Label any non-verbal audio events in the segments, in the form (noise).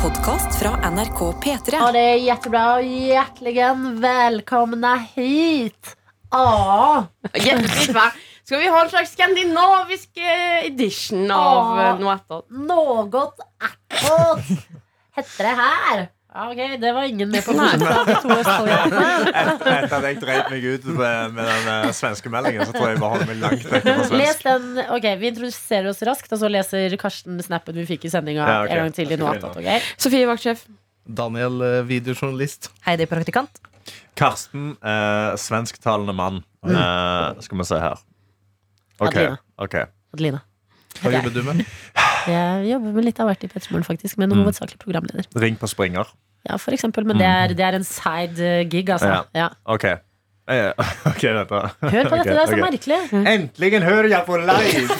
podkast fra NRK P3. Ja, det är jättebra och hjärtligen välkomna hit! Ja, Hjertelig vær. Skal vi ha en slags skandinavisk eh, edition av Ja. eh, noe etter? något attåt hette det här. Ja, Okej, det var ingen med på (laughs) nosen. Etter at jeg dreit meg ut med, med den eh, svenske meldingen, så tror jeg bare holder meg langt vekk fra Les svensk. den, ok, Vi introduserer oss raskt, og så leser Karsten snappen vi fikk i sendinga. Ja, ok. En gang til i noe attåt, ok? Sofie vaktsjef. Daniel, eh, videojournalist. Heidi, praktikant. Karsten, eh, svensktalende mann. Eh, skal vi se her. OK. Adelina. ok Adelina. Hva jobber du med? Jeg jobber med litt av hvert i Petermoren, faktisk, men Mm. hovedsakelig programleder. Ring på springer. Ja, for eksempel, Men det er, det er en side eh, gig, altså. Mm. Ja. OK. Eh, (laughs) ok, dette. Hør på Ok, dette, det er så ok. merkelig. Endelig hører jeg (laughs) på live!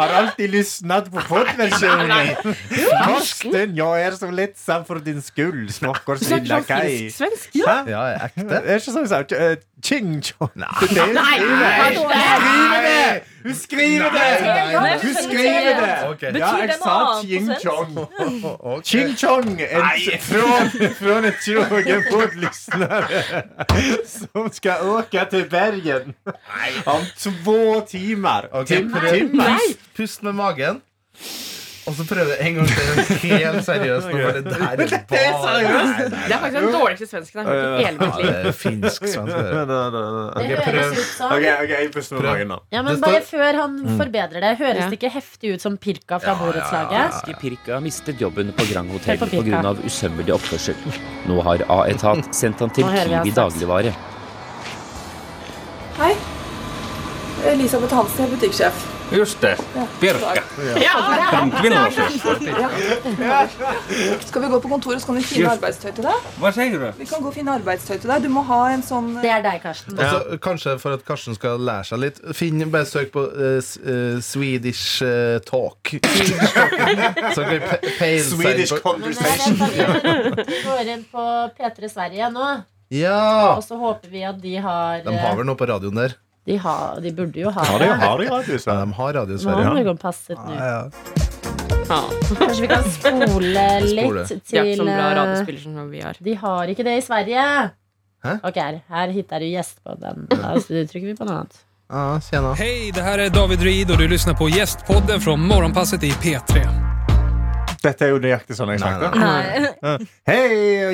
Har alltid lyssnat på poddversjonen. Karsten, jeg er så lettsam for din skyld, Du smakkers snakker lilla sånn kai. finsk-svensk. Hæ? Ja, jeg er Det ekte. er ikke sånn jeg sa. Eh, Ching chong. Det er- Nei, Nei, det Hun skriver det! Hun skriver Nei. det! Hun skriver det! Ok. Ja, Betyr jeg det noe sa annet på ching svensk? chong. (laughs) Ok. Ching chong! en- (laughs) Fra från ett tjoge poddlyssnare (laughs) som ska åka till Bergen om två timmar. Ok, Tim- prøv- timmar. Pust, pust med magen. Og så prøv en gang til. Helt seriøst. Nå, for det der er bare Det er seriøst. Det er faktisk den dårligste svensken jeg har hørt i hele mitt liv. Ja, det er finsk svensk. det der. Det prøv. høres ut som Ok, ok, jeg puster med magen nå. Ja, men Det bare står- Mm. før han forbedrer det, høres Ja. det ikke heftig ut som pirka fra ja, borettslaget? Aski Pirka mistet jobben på Grand Hotel Hør på Pirka. pga. usømmelig oppførsel. Nå har A-etat sendt han til Nå hører vi Kiwi hans saks. dagligvare. Elisabeth Hansen er butikksjef. Just det. Birka. Kvinnen også. Skal vi gå på kontoret, så kan vi finne arbeidstøy til deg. Hva sier du? Vi kan gå og finne arbeidstøy til deg. Du må ha en sånn Det er deg, Karsten. Og så, kanskje for at Karsten skal lære seg litt, finn, bare søk på eh, s- eh, Swedish eh, talk. (laughs) så kan vi pe- peile seg inn Swedish på- Men jeg conversation. vet at (laughs) vi- Vi går inn på P3 Sverige nå, Ja! og så håper vi at de har eh, De har vel noe på radioen der. De, har, de burde jo ha Har de, har de gratis? Ja, Ja, de har Nå radio i har Sverige. Morgan passet nå. Ja, Kanskje vi kan spole Spole. litt De er ikke til sånn bra eh, radiospiller som vi har. De har ikke det i Sverige. Hæ? Ok, her, her hittar du gjest på den. Da trykker vi på noe annet. ja, tjena. Hei, det her er David Ruid, og du lyssnar på Gästpodden fra Morgonpasset i P3. Dette er jo nøyaktig sånn jeg snakket. Nei. Hei,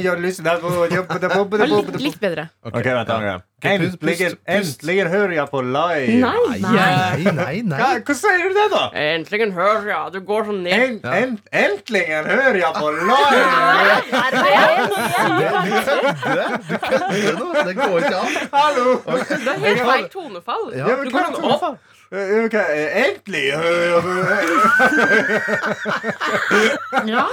jeg lyssnar på Litt, litt bedre. Ok, vent en gang. Ok, pust, Endelig, pust, pust. endelig hører jeg på live. Nei, nei, Ja, nei. Hva sier du det, da? Endelig hører jeg. Du går sånn ned. En, en, endelig hører jeg på live! Du kødder nå. Det går ikke an. Hallo! Det er helt feil tonefall. Ja. Ja, men Du hva går er det sånn for opp. faen? Eh, ok, eh, Endelig hører jeg på Ja,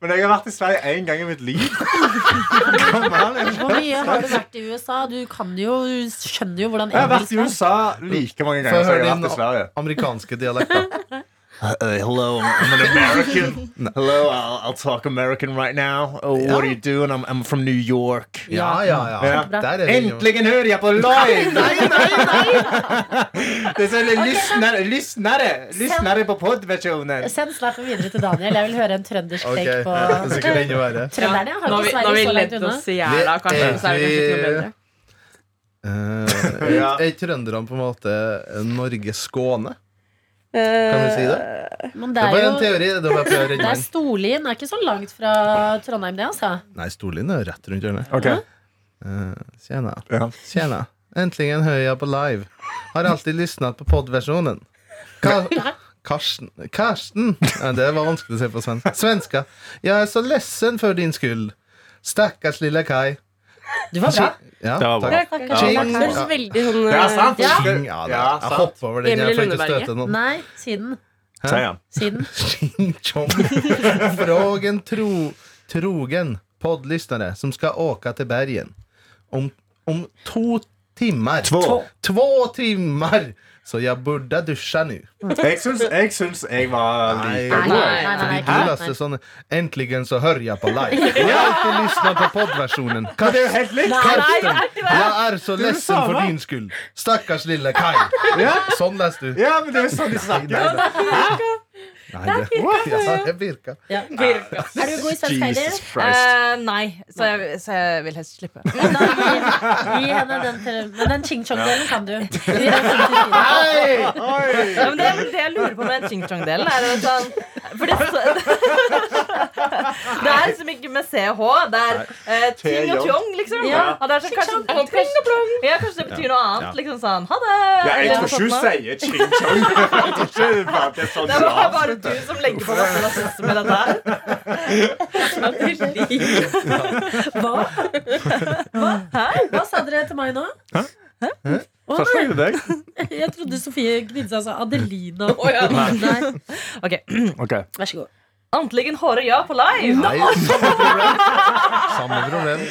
Men jeg har vært i Sverige én gang i mitt liv. Kom an, jeg Hvor mye har du vært i USA? Du kan jo, du skjønner jo hvordan Jeg har vært engelsk i er. USA like mange Få ganger som høre jeg har din vært i Sverige. Amerikanske dialekter. hello, I'm an American. (laughs) hello, I'll, I'll talk American right now. Oh, What are you doing? I'm, I'm from New York. Ja, ja, ja. Ja. Der er vi jo. Äntligen hör jag på live! nej, nej, nej! (laughs) Det sånn är så lyssnare, lyssnare, lyssnare på poddversionen. Send snappen videre til Daniel. Jeg vil høre en trøndersk Ok, altså- take på det er sikkert enda verre. Trønderne Nå har har vi, ikke nå har Sverige vi så langt ledd unna. oss i hjel av Karsten, så er det kanskje ikke noe bedre. Eh, (laughs) Ja. Er ikke trønderne på en måte Norge Skåne? eh, Kan vi si det? Men Det det er er bare en jo teori. Det er bare å prøve å redde det er meg. Storlien det er ikke så langt fra Trondheim, det, altså. Nei, Storlien er jo rett rundt hjørnet. Okej. Eh, Tjena. Ja. Tjena. Äntligen hör jag på live. Har alltid lyssnat på poddversionen. Ka- Karsten. Karsten. Ja, det var vanskelig å se på svenska. Svenska. Jag är så ledsen för din skull. Stackars lilla Kai. Du var bra. Ja, Det var bra. tack. Det høres veldig sånn Det er sant. Ja. Ching, Ja, det, Ja, jeg sant. hopper over den. Jeg Emil får ikke Lundberg. støte noen. Nei, siden. Säger han. Siden. Ching chong. (laughs) Frågen tro, trogen poddlyssnare som ska åka till bergen. Om, om två timmar. Två. Två timmar! Så jag borde duscha nu. Jeg syns, jeg syns jeg var Nei. like Nei, nei, nei. nei, Fordi nei, du nei, leste sånn Endelig så hører jeg på live. Jeg har ikke lyssna på podversjonen. Men det er jo helt likt! Karsten, jeg er så er det ledsen for samme. din skyld. Stakkars lille Kai. Ja. Sånn leste du. ja, men det er jo sånn de snakker. Nei, nei. Nei, det, Ja, det virka. Ja. Er du god i svensk, Heidi? Jesus Christ. nei, så jeg, så jeg vil helst slippe. Men da gi- Gi henne den til Men den ching chong-delen kan du. Gi den til Siri. Ja, men det, er vel det jeg lurer på med den ching-chong-delen, er at han For det, (laughs) det er liksom ikke med CH. Det er eh, ting og tjong, liksom. Ja. Og det er sånn, kanskje, kanskje, ja, kanskje det betyr noe annet. Liksom sånn ha det. Ja, jeg eller tror noe ikke hun sånt noe. sier ching-chong. (laughs) Jeg tror ikke det er bare at det er sånn Det er bare, lavt. bare du som legger på masse rasisme med dette her. Hva? Hva? Hva sa dere til meg nå? Å, Først nei. var det deg. Jeg trodde Sofie gnidde seg og sa Adelina. Å, ja. Nei. Ok, Ok. Vær så god. Antligen håret ja på live. Nei, samme problem. Samme problem.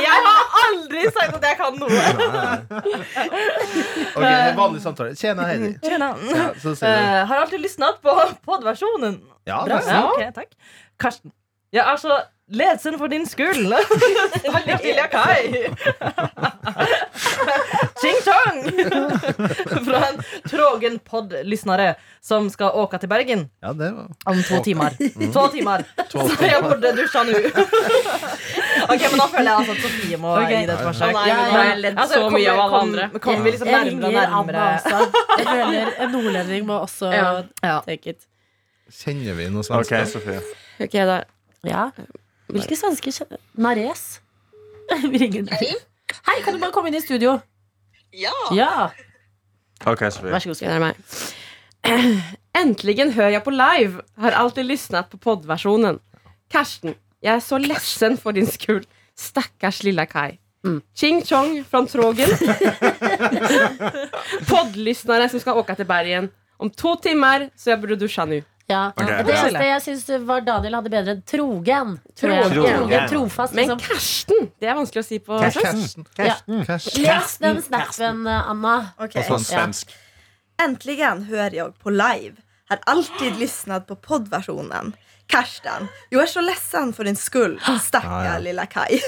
Jeg har aldri sagt at jeg kan noe. Ok, en vanlig samtale. Tjena, (laughs) Heidi. Tjena. Ja, så sier du Eh, har alltid lyssnat på poddversionen. ja, Bra. nesten. Ja, ok, takk. Karsten. Jeg er så ledsen for din skyld. Veldig Lilja Kai. (laughs) Ching-chong! Fra en trogen podd-lyssnare som skal åka til Bergen ja, det var om to timer. To timer. Två Så jeg burde dusja nå. Ok, men da føler jeg altså at Sofie må Ok. gi det et forsøk. Nei, men nå har jeg ledd Altså, så mye av alle kom- andre. Kommer vi liksom Jeg nærmere og ringer Anna nærmere? også. Jeg føler En nordlending må også Ja. Ja. take it. Kjenner vi noe sånt? Ok, Sofie. Ok, da. Ja. Hvilke svensker kjenner Nares. Vi ringer Hei. Hei, kan du bare komme inn i studio? Ja! Ja. Ok, Sofie. Vær så god. Ska jag närma mig? (clears throat) Äntligen hör jag på live. Har alltid lyssnat på poddversionen. Karsten, jag är så ledsen för din skull. Stackars lilla Kai. Mm. Ching chong från Trågen. Poddlyssnare som ska åka till bergen. Om två timmar så jag borde duscha nu. Ja. Ok. Og Det eneste jeg syns var Daniel hadde bedre enn trogen. tror jeg. Trogen. Trofast, Men liksom. Karsten, det är vanskligt att säga på svenska. Karsten. Ja. Karsten. Les den snappen, Anna. Okay. Sånn svensk. Äntligen hör jag på live. Har alltid lyssnat på poddversionen. Karsten, jag är så ledsen för din skull, stackar lilla Kai.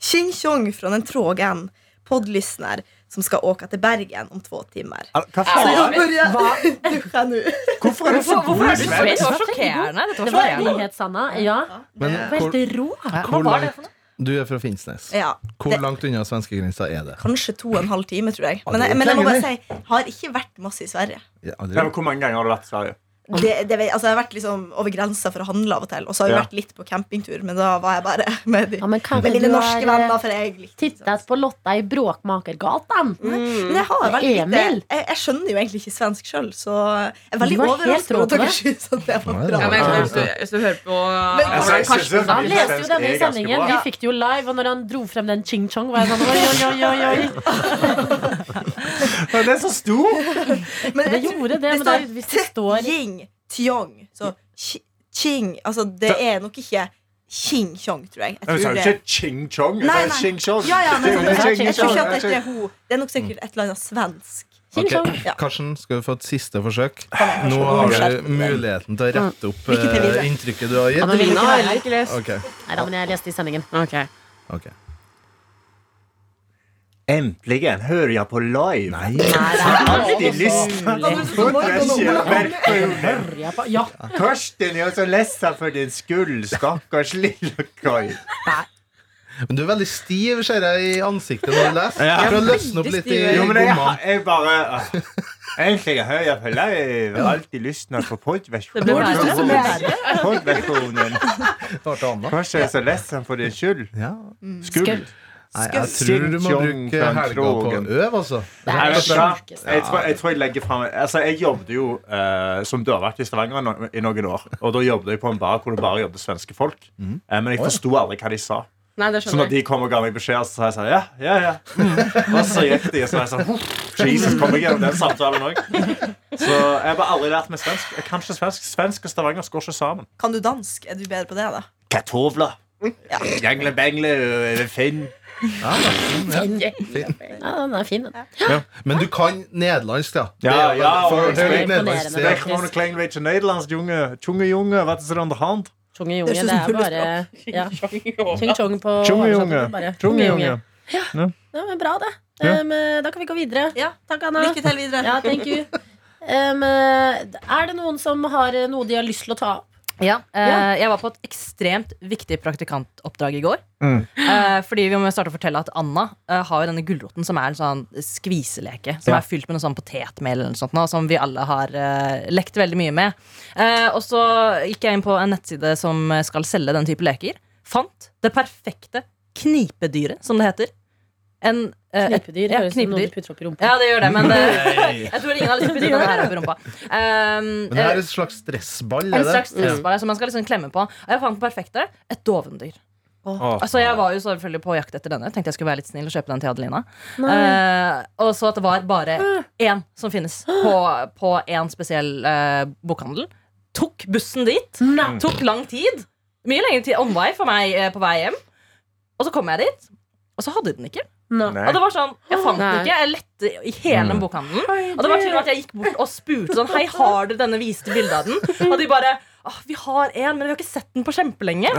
Tjing tjong från en trågan poddlyssnar som ska åka till Bergen om två timmar. Al- Hva Så faen? jag börjar (laughs) duscha nu. Hvorfor er det så god i Det svensk? var sjokkerende. Dette var Det var en sjokkerende. nyhet, Sanna. Ja. Men hvor, Helt rå. hvor Hva var det langt Du er fra Finnsnes. (laughs) Ja, Hvor langt unna svenskegrensa er det? kanske två och en halv timme tror jag. det är Men, men jag må bara länge säga, har inte varit masse i Sverige. Ja, Ja, aldri. men Hvor mange ganger har du vært i Sverige? Det, det, vet- altså, jeg har vært liksom over grensa for å handle av og til. Og så har jeg Ja. vært litt på campingtur, men da var jeg bare (laughs) med de Ja, men med kanskje mine du norske har venner. eh, For jeg likte tittet på Lotta i Bråkmakergatan? Men jeg har veldig lite jeg, Mm. Emil. jeg skjønner jo egentlig ikke svensk sjøl, så jeg er Du veldig var helt rå overrasket over at på dere det. syns at det var Nei, bra. Ja, men- hvis du, hvis du hører på Jeg Men- synes det Han er faktisk leste jo svensk denne i er ganske sendingen. bra. Vi fikk det jo live. Og når han dro frem den ching-chong, var jeg sånn oi, oi, oi, oi, oi. Ja, Den er så stor! Men Det jeg tror- gjorde det, men da, Mm. hvis det står Ying, tjong, så chi- ching Altså, det er nok ikke ching-chong, tror jeg. Jeg jeg sa tror jo det. ikke ching-chong. Nei, nei. Ching-chong. Ja, ja, men sånn, Det er jeg, jo jeg tror ikke at det ching-chong. ikke er hun. Det er nok sikkert et eller annet svensk. Ok, ching-chong. Ja. Karsten, skal du få et siste forsøk? Kan jeg Nå kanskje har oversette du den? muligheten til å rette opp Lykke til eh, videre. inntrykket du har Ja, gitt. men Lina har heller ikke lest. Ok, Nei da, men jeg leste i sendingen. Ok. ok Äntligen hör jag på live. Nej, Nei, det er alltid lyssnat på poddversionen. Hørte jeg på- Ja, Karsten, jag är så ledsen för din skull, stackars lilla Kaj. Men du er veldig stiv, ser jeg, i ansiktet når du leser. For å løsne opp litt i stiv. Jo, men gommene. jag är bara... Äntligen hör jag på live. Alltid lyssnat på Det blir poddversionen. verre og verre. Poddversionen. Hørte du Anna? Karsten, jag är så ledsen för din skull. Ja. Skull. Nei, jeg tror du må Sjong bruke fra helga på å Krogen. øve, altså. det Nei, er det vet du hva? sjukeste. Jeg tror, jeg tror jeg legger frem Altså, jeg jobbet jo eh, som dørvakt i Stavanger no i noen år. Og da jobbet jeg på en bar hvor det bare jobbet svenske folk. Eh, men jeg forsto aldri hva de sa. Nei, det Så når skjønner jeg. de kom og ga meg beskjed, så sa jeg sånn Ja, ja, ja. Mhm. Og så gikk de, og så var jeg sånn «Huff, Jesus, kom jeg gjennom den samtalen òg? Så jeg har bare aldri lært meg svensk. Jeg kan ikke svensk. Svensk og stavangersk går ikke sammen. Kan du dansk? Er du bedre på det, da? Katovla. Jangle-bangle, Finn. Ja, den er fin. den. Ja. Men du kan nederlandsk, da. Ja, Det er- ja, for- og- det er litt Imponerende. nederlandsk, Det ja. er ikke noe klangvitje nederlandsk, junge. Tjunge, junge, hva er det som er under hand? Tjunge-junge, Det det er sånn er bare ja. (laughs) Ching-chong på Tjunge-junge. bare- Tjunge-junge. Ja, men bra, det. Ja. Um, eh, da kan vi gå videre. Ja. Takk, Anna. Lykke til videre. Ja, thank you. Em, eh, er det noen som har eh, noe de har lyst til å ta opp? Ja, eh, Ja. Jeg var på et ekstremt viktig praktikantoppdrag i går. Mm. Eh, fordi vi må starte å fortelle at Anna eh, har jo denne gulroten som er en sånn skviseleke. Som Ja. er fylt med noe sånn potetmel eller noe sånt, nå, som vi alle har eh, lekt veldig mye med. Eh, og så gikk jeg inn på en nettside som skal selge den type leker. Fant det perfekte knipedyret, som det heter. En, eh, et- Knipedyr ja, høres ut som noe knipedyr. du putter opp i rumpa. Ja, det gjør det, men eh, Nei. (laughs) jeg tror ingen har lyst til å putte den her opp i rumpa. Um, Men det her er et slags stressball? en er det? slags stressball som man skal liksom klemme på. Og jeg fant den perfekte. Et dovendyr. Åh. Altså, jeg var jo selvfølgelig på jakt etter denne. Tenkte jeg skulle være litt snill og kjøpe den til Adelina. Nei. Eh, og så at det var bare én som finnes på, på én spesiell eh, bokhandel. Tok bussen dit. Nei. Tok lang tid. Mye lengre tid omvei for meg eh, på vei hjem. Og så kom jeg dit, og så hadde den ikke. Nei. Nei. Og det var sånn, Jeg fant den Nei. ikke. Jeg lette i hele den bokhandelen. Og det var til og med at jeg gikk bort og spurte sånn Hei, har dere denne viste bildet av den? Og de bare Åh, vi har en, men vi har ikke sett den på kjempelenge. (laughs)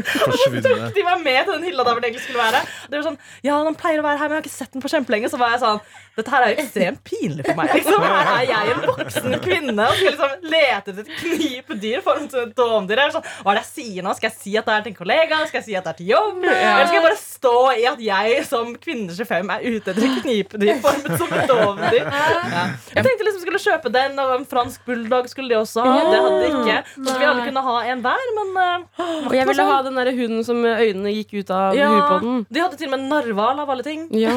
Forsvinne. De var med til den hylla der hvor det egentlig skulle være. Og de var sånn Ja, den pleier å være her, men jeg har ikke sett den på kjempelenge. Så var jeg sånn Dette her er jo ekstremt pinlig for meg. Liksom. Her er jeg en voksen kvinne og skal liksom lete etter et knipedyr for et dovdyr. Jeg er Sånn, Hva er det jeg sier nå? Skal jeg si at det er til en kollega? Skal jeg si at det er til jobb? Eller skal jeg bare stå i at jeg som kvinne 25 er ute etter et knipedyr formet som et dovdyr? Ja. Jeg tenkte liksom skulle kjøpe den, og en fransk bulldog skulle de også ha. Det hadde de ikke. Så vi alle kunne ha en hver, men eh, Og jeg ville ha den der hunden som øynene gikk ut av ja, huet på den. De hadde til og med narval av alle ting. Ja.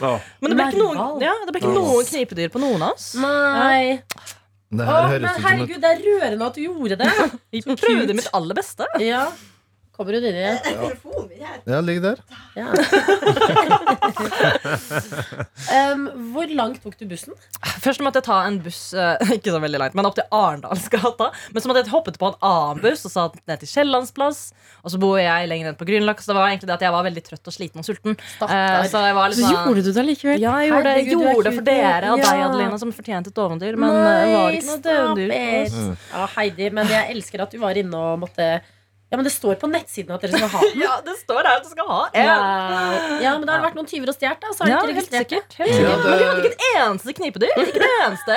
Åh. Men det ble ikke noen, Narval? ja, det ble ikke noen knipedyr på noen av oss. Nei. Det Å, her høres men ut som et herregud, det er rørende at du gjorde det. (laughs) Jeg prøvde mitt aller beste. Ja. Kommer hun inn i det? Telefonen min her. Ja, ligg der. (laughs) Ja. um, hvor langt tok du bussen? Først måtte jeg ta en buss eh, (laughs) Ikke så veldig langt, men opp til Arendalsgata. Men så måtte jeg hoppet på en annen buss og satt ned til Kiellandsplass. Og så bor jeg lenger ned på Grünerløkka, så det var egentlig det at jeg var veldig trøtt og sliten og sulten. Eh, så jeg var litt Så sånn- gjorde du det allikevel. Ja, jeg gjorde, Herregud, du er gjorde det for cute. dere og deg, Ja. Adelina, som fortjente et dovendyr. Men eh, var det ikke noe Mm. dovendyr? it. Mm. Ja, Heidi, men jeg elsker at du var inne og måtte Ja, men det står på nettsiden at dere skal ha (laughs) den. Ja, det står her at du skal ha en. Nei. Ja, men da har det vært noen tyver og stjålet, da. Så har Ja, de ikke helt registrert det. sikkert. Helt sikkert. Ja, det- Men vi hadde ikke et eneste knipedyr. Ikke det eneste.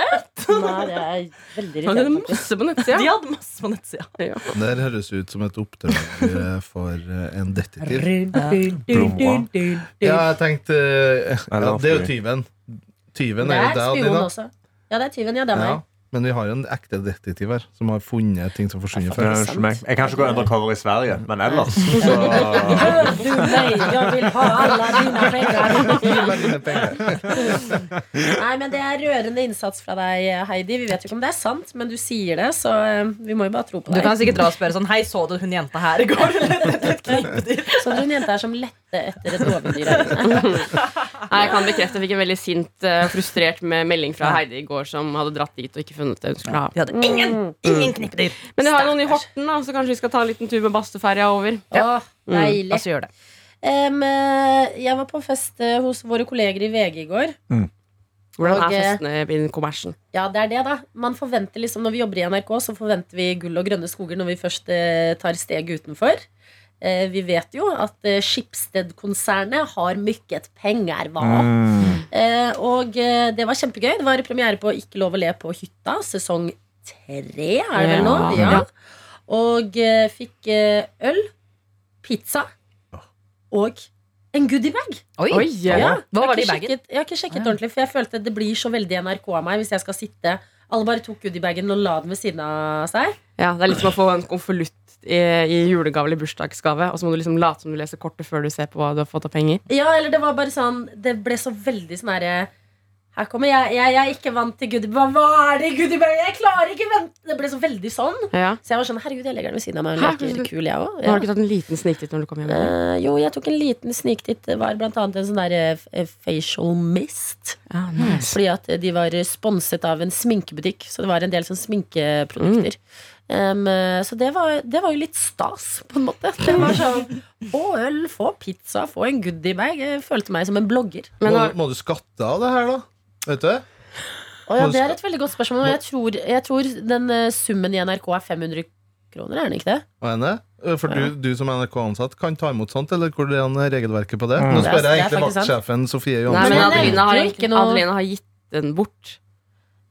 Nei, det er veldig Ja, det er irriterende. faktisk. masse på nettsida. De hadde masse på nettsida. Det her høres ut som et oppdrag eh, for eh, en detektiv. Blomma. Ja, jeg tenkte Nei, eh, det ja, var Det er jo fordi- tyven. Tyven Det er jo er deg, spion Adelina. også. Ja, det er tyven. Ja, det er Ja, meg. men vi har jo en ekte detektiv her, som har funnet ting som forsvinner Det fra er jo ikke meg. Jeg kan ikke gå undercover i Sverige, men (laughs) ellers så Hør du meg, jeg vil ha alle dine penger. Nei, men det er rørende innsats fra deg, Heidi. Vi vet jo ikke om det er sant, men du sier det, så eh, vi må jo bare tro på Du deg. kan sikkert dra og spørre sånn Hei, så du hun jenta her i går? Eller et knipedyr? Så du er en jente her som lette etter et dovendyr her inne. Nei, jeg kan bekrefte jeg fikk en veldig sint og frustrert med melding fra Heidi i går, som hadde dratt dit og ikke funnet det hun skulle De ha. Mm. hadde ingen, ingen knipedyr. Men jeg har noen i Horten, da, så kanskje vi skal ta en liten tur med Bastøferja over. Åh, deilig. Altså, gjør det. Em, eh, jeg var på fest eh, hos våre kolleger i VG i går. Hvordan er Og, eh, festene i den kommersen? Ja, det er det, da. Man forventer liksom, Når vi jobber i NRK, så forventer vi gull og grønne skoger når vi først eh, tar steg utenfor. Eh, vi vet jo at eh, Schibsted-konsernet har mykket penger, hva? Eh, og eh, det var kjempegøy. Det var premiere på Ikke lov å le på hytta, sesong tre, er det vel nå? Ja. Ja. Og eh, fikk eh, øl, pizza og en goodiebag. Oi. Ja, Hva jeg har var det i ikke bagen? sjekket- Jeg har ikke sjekket ordentlig, for jeg følte det blir så veldig NRK av meg hvis jeg skal sitte Alle bare tok goodiebagen og la den ved siden av seg. Ja, det er litt som å få en konvolutt i, i julegave eller bursdagsgave, og så må du liksom late som du leser kortet før du ser på hva du har fått av penger. Ja, eller det var bare sånn Det ble så veldig sånn herre her kommer jeg, jeg, jeg er ikke vant til goodiebag. Hva er det i goodiebagen? Jeg klarer ikke vente! Det ble så veldig sånn. Ja. Så jeg var sånn, herregud, jeg legger den ved siden av meg. Hun Hæ? leker litt kul, jeg også. Nå Ja. har du ikke tatt en liten sniktitt når du kom hjem? eller? Eh, jo, jeg tok en liten sniktitt. Det var blant annet en sånn der eh, f- eh, facial mist. Ja, nice. Fordi at de var sponset av en sminkebutikk, så det var en del sånn sminkeprodukter. Em, eh, så det var, det var jo litt stas, på en måte. Det var sånn, Få øl, få pizza, få en goodiebag. Jeg følte meg som en blogger. Må, Men har, må du skatte av det her, da? Vet du? Og ja, Det er et veldig godt spørsmål. og Jeg tror, jeg tror den eh, summen i NRK er 500 kroner, er den ikke det? Og henne? Eh, For du, du som NRK-ansatt kan ta imot sånt, eller hvordan er regelverket på det? Nå Det er- spør jeg det er egentlig faktisk sant. vaktsjefen Sofie nei, Johansen. men Mm. Men jeg Adelina nevnte har, jo egentlig- ikke noe- Adelina har gitt den bort.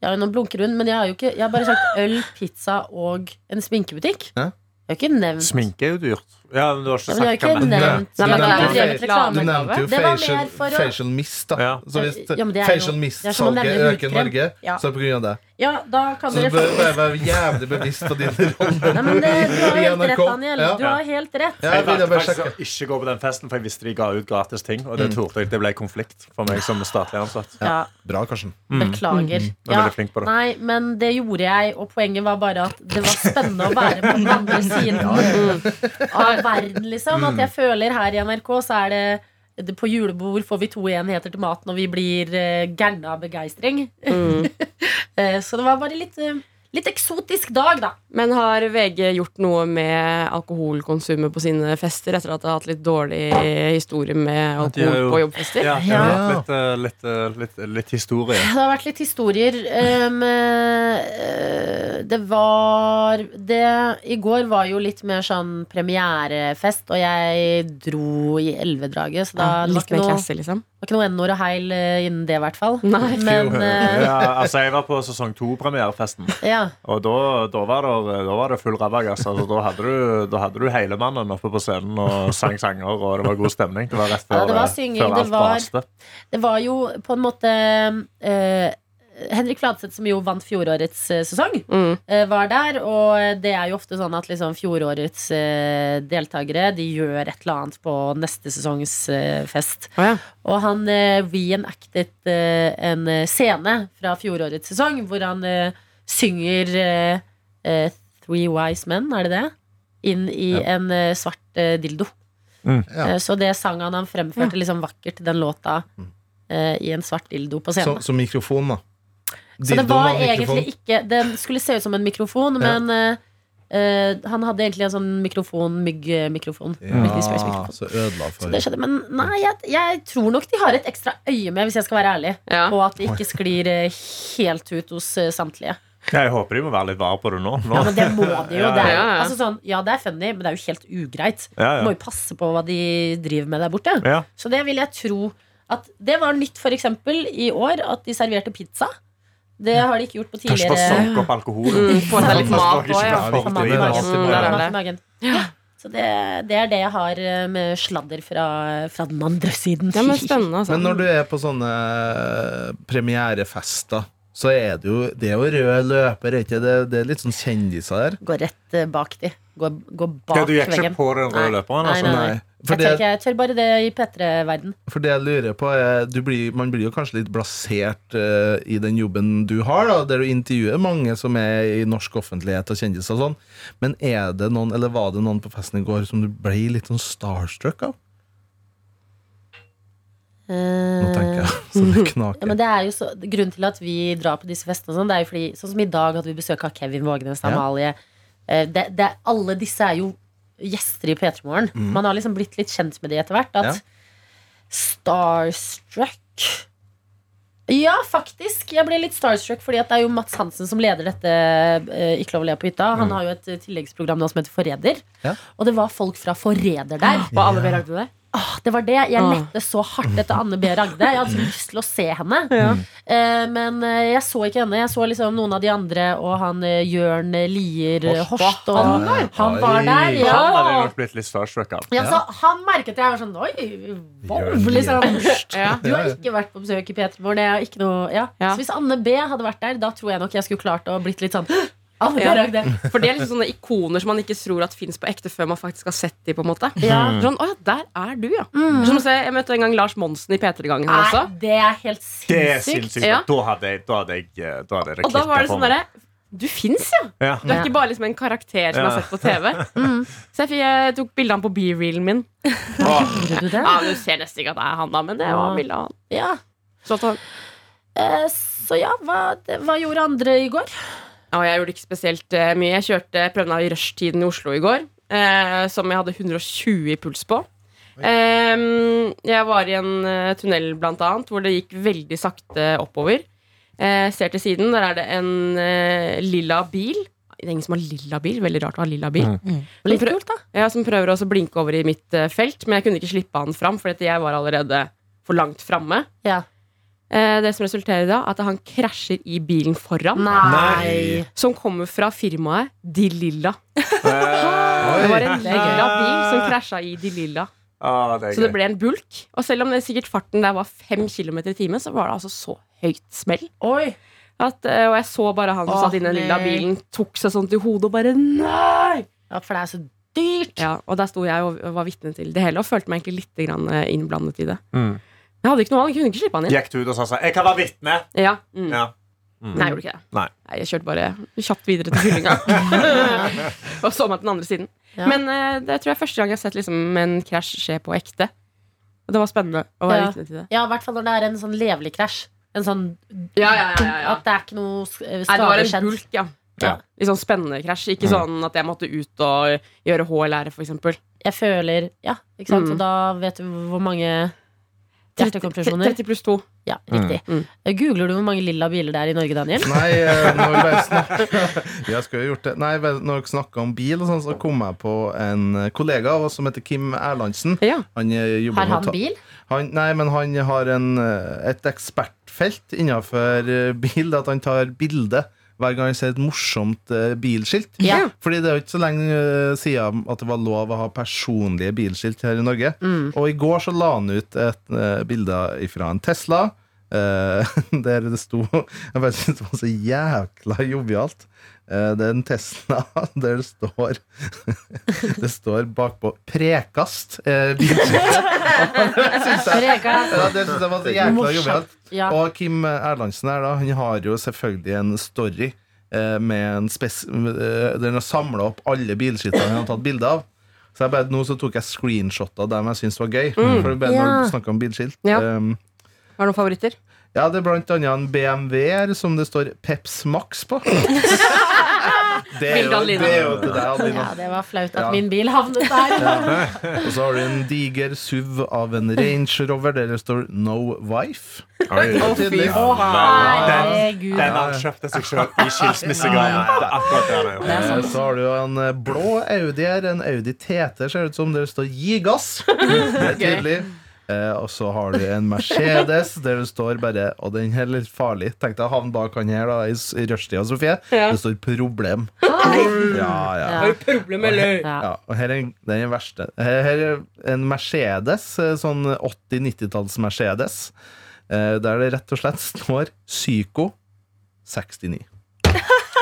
Ja, nå blunker hun, men jeg har jo ikke Jeg har bare sagt øl, pizza og en sminkebutikk. Hæ? Jeg har ikke nevnt Sminke er jo dyrt. Ja, men du har ja, ikke men jeg har sagt ikke hva men- nevnt Nei, men Jeg har det er ikke drevet feil. reklame. Du nevnte jo Det var mer facial, for å- facial mist, da. Ja. Så hvis Ja, men det er jo- facial det er som å mist-salget nevne øker i hudkrem. Norge, Ja. så er det på grunn av det. Ja, da kan Så du dere bør bare være jævlig bevisst på (laughs) dine roller. Nei, men det, Du har I helt NRK. rett, Daniel. Ja. Du har helt rett. Ja, Jeg jeg ville valgte bare faktisk sjekke. å ikke gå på den festen, for jeg visste de ga ut gratis ting. Og det, torde jeg, det ble konflikt for meg som statlig ansatt. Ja, Bra, Karsten. beklager. Jeg er veldig flink på Mm. det. Nei, men det gjorde jeg, og poenget var bare at det var spennende å være på den (laughs) andre siden av verden, liksom. At jeg Mm. føler her i NRK så er det det- på julebord får vi to enheter til maten, og vi blir uh, gærne av begeistring. Mm. (laughs) Eh, så det var bare litt, eh, litt eksotisk dag, da. Men har VG gjort noe med alkoholkonsumet på sine fester etter at det har hatt litt dårlig historie med de har alkohol jo- på jobbfester? Ja, jeg har hatt litt, eh, litt, eh, litt, litt historie. Det har vært litt historier. Um, eh, det var det, I går var jo litt mer sånn premierefest, og jeg dro i elvedraget, så da Ja, det var litt ikke mer noe, klasse, liksom. var ikke noe n-ord og heil eh, innen det, i hvert fall. Nei. Men eh, Ja, altså, jeg var på sesong to-premierefesten. ja. Og da, da, var det, da var det full rabagass. Altså, da, hadde du- da hadde du hele mannen oppe på scenen og sang sanger, og det var god stemning. Det var rett før, Ja, det var eh, synging, før det alt var- raste. Det var jo på en måte eh, Henrik Fladseth, som jo vant fjorårets eh, sesong, Mm. eh, var der. Og det er jo ofte sånn at liksom, fjorårets eh, deltakere De gjør et eller annet på neste sesongs eh, fest. Å ja. Og han eh, reenactet eh, en eh, scene fra fjorårets sesong hvor han eh, synger eh, eh, Three Wise Men, er det det? Inn i en eh, svart eh, dildo. Mm. Ja. Mm. Eh, så det sang han han fremførte liksom vakkert den låta eh, i en svart dildo på Så, scenen. så mikrofon, da. Så det Dildoen var og mikrofon. egentlig ikke Den skulle se ut som en mikrofon, Ja. men eh, eh, han hadde egentlig en sånn mikrofon, myggmikrofon. Ja, så ødela Så for det skjedde, Men nei, jeg, jeg tror nok de har et ekstra øye med, hvis jeg skal være ærlig. Ja. På at det ikke sklir eh, helt ut hos eh, samtlige. Jeg håper de må være litt var på det nå. nå. Ja, men det må de jo. Ja, Det er, ja, ja. altså sånn, ja, det er funny, men det er jo helt ugreit. Ja, Du ja. må jo passe på hva de driver med der borte. Ja. Så det vil jeg tro at Det var nytt for eksempel i år at de serverte pizza. Det har de ikke gjort på Kanskje bare tidligere. sanke opp alkoholen. Mm, Få seg litt Pass på mat at òg, ikke ja. bare folk Mat i driver. magen. Mm, der er Mat i det. magen. Så det, det er det jeg har eh, med sladder fra, eh, fra den andre siden. Ja, (laughs) men spennende, altså. Men når du er på sånne eh, premierefester, så er det jo Det er jo rød løper, er ikke det? Det er litt sånn kjendiser der. Går rett eh, bak de. Går, går bak Ja, du gikk ikke veggen. på den røde Nei. løperen? Altså. Nei. Jeg tør, For det, ikke, jeg tør bare det i P3-verden. for det jeg lurer på, er du blir, Man blir jo kanskje litt blasert eh, i den jobben du har, da, der du intervjuer mange som er i norsk offentlighet og kjendiser og sånn. Men er det noen, eller var det noen på festen i går som du ble litt sånn starstruck av? Nå tenker Eh, jeg, så det (laughs) Ja, men knaker. det er jo så, grunnen til at vi drar på disse festene og sånn, det er jo fordi, sånn som i dag hadde vi besøk av Kevin Vågenes og Ja. Amalie. Eh, Det, det, alle disse er jo gjester i P3 Morgen. Man har liksom blitt litt kjent med de etter hvert. At Mm. Ja. Starstruck Ja, faktisk. Jeg ble litt starstruck, fordi at det er jo Mats Hansen som leder dette eh, Ikke lov å le på hytta. Han har jo et eh, tilleggsprogram nå som heter Forræder. Ja. Og det var folk fra Forræder der. Og alle ber lagde det? Åh, det var det. Jeg Åh. lette så hardt etter Anne B. Ragde. Jeg hadde så lyst til å se henne. Eh, men eh, jeg så ikke henne. Jeg så liksom noen av de andre og han eh, Jørn Lier eh, Horst, Horst. Og han der? han var der, Oi. ja. Han hadde jeg nok blitt litt starstruck av. ja så han merket jeg var sånn Oi, wow, liksom. Ja. Du har ikke vært på besøk i P3 Morgen. Jeg har ikke noe, ja. Ja. Så hvis Anne B hadde vært der, da tror jeg nok jeg skulle klart å blitt litt sånn Anne B. Ja. (laughs) Ragde. For det er liksom sånne ikoner som man ikke tror at fins på ekte før man faktisk har sett de på en måte. Ja. Sånn, å ja, Mm. der er du, ja. Som å se, jeg møtte en gang Lars Monsen i P3-gangen her Nei, også. det er helt Det er sinnssykt. sinnssykt. Ja. Da hadde jeg Da hadde jeg, eh, da hadde det Og da klikket var det for sånn meg. derre Du fins, ja! Ja. Du er ikke bare liksom en karakter som Ja. jeg har sett på TV. Mm. Så jeg, fikk, jeg tok bilde av han på B-reelen min. Åh, Gjorde du det? Ja, Du ser nesten ikke at det er han, da, men det var bildet av han. Ja. Så at han Eh, Så ja, hva, det- hva gjorde andre i går? Ja, jeg gjorde ikke spesielt eh, mye. Jeg kjørte prøvene i rushtiden i Oslo i går, eh, som jeg hadde 120 i puls på. Ehm, jeg var i en eh, tunnel, blant annet, hvor det gikk veldig sakte oppover. Eh, ser til siden, der er det en eh, lilla bil. Det er ingen som har lilla bil. Veldig rart å ha lilla bil. Mm. Litt prø- kult, da. Ja, som prøver også å blinke over i mitt eh, felt, men jeg kunne ikke slippe han fram, for jeg var allerede for langt framme. Ja. Eh, Det som resulterer i da, at han krasjer i bilen foran, Nei. som kommer fra firmaet De Lilla. Eh, Det var en Oi. lilla bil som krasja i De Lilla. Ah, det er Så det gøy. ble en bulk. Og selv om det sikkert farten der var fem kilometer i timen, så var det altså så høyt smell. Oi. At, eh, og jeg så bare han som Å, satt inni den lilla nei. bilen, tok seg sånn til hodet og bare Nei! Ja, for det er så dyrt. Ja, og der sto jeg og var vitne til det hele og følte meg egentlig litt grann eh, innblandet i det. Mm. Jeg hadde ikke noe annet, jeg kunne ikke slippe han inn. Gikk du ut og sa sånn Jeg kan være vitne. Ja. Mm. (laughs) Ja. Mm. Nei, jeg gjorde ikke det. Nei. jeg kjørte bare kjapt videre til fyllinga. (laughs) og så meg til den andre siden. Ja. Men eh, det tror jeg er første gang jeg har sett liksom, en krasj skje på ekte. Og det var spennende å være Ja. vitne til det. Ja, i hvert fall når det er en sånn levelig krasj. En sånn At det er ikke noe eh, Nei, det var skade en skjedd. bulk, ja. Ja. Mm. Litt sånn spennende krasj. Ikke sånn at jeg måtte ut og gjøre HLR, for eksempel. Jeg føler Ja, ikke sant. Mm. Og da vet du hvor mange 30, hjertekompresjoner. pluss 2. Ja, riktig. Mm. Googler du hvor mange lilla biler det er i Norge, Daniel? Nei, eh, når vi bare snakker Jeg skulle jo gjort det Nei, bare når vi snakket om bil og sånn Så kom jeg på en eh, kollega av oss som heter Kim Erlandsen Ja. Han eh, jobber Har med han ta- bil? Han, nei, men han har en, eh, et ekspertfelt innenfor eh, bil. At han tar bilde hver gang han ser et morsomt eh, bilskilt. Ja. Fordi det er jo ikke så lenge eh, siden at det var lov å ha personlige bilskilt her i Norge. Og i går så la han ut et eh, bilde fra en Tesla. eh, (laughs) der det sto Jeg bare synes det var så jækla jovialt. Eh, det er en Tesla (laughs) der det står (laughs) Det står bakpå 'Prekast'. Uh, Rekast. ja, det synes jeg var så jækla Morsomt. jovialt. Ja. Og Kim Erlandsen her, da, han har jo selvfølgelig en story eh, med en spes eh, der han har samla opp alle bilskittene han har tatt bilde av. Så jeg bare, nå så tok jeg screenshotter av dem jeg syntes var gøy. For det ble når Ja. du snakker om bilskilt. Mm. Ja. Um, Har du noen favoritter? ja, det er blant annet en BMW her som det står Peps Max (laughs) på. Det er Bilde jo, av det Lina. er jo til deg, Ja, Adelina. det var flaut Ja. at min bil havnet der. Og så har du en diger SUV av en Range Rover der det står No Wife. Oi. Tydelig. Herregud. Den han kjøpte seg sjøl i skilsmissegaven. Det er akkurat det han har gjort. Eh, Så har du jo en eh, blå Audi her, en Audi TT, ser ut som det står 'gi (laughs) gass'. Det er tydelig. Eh, og så har du en Mercedes der det står bare Og den her er litt farlig. Tenk deg å havne bak han her da i s- i rushtida, Sofie. Ja. Det står 'problem'. Ja, ja. Ja. problem, eller? Ja. Ja, og her er en- den er verste. Her her er en Mercedes, eh, sånn 80-90-talls Mercedes, eh, der det rett og slett står 'Psyko 69'.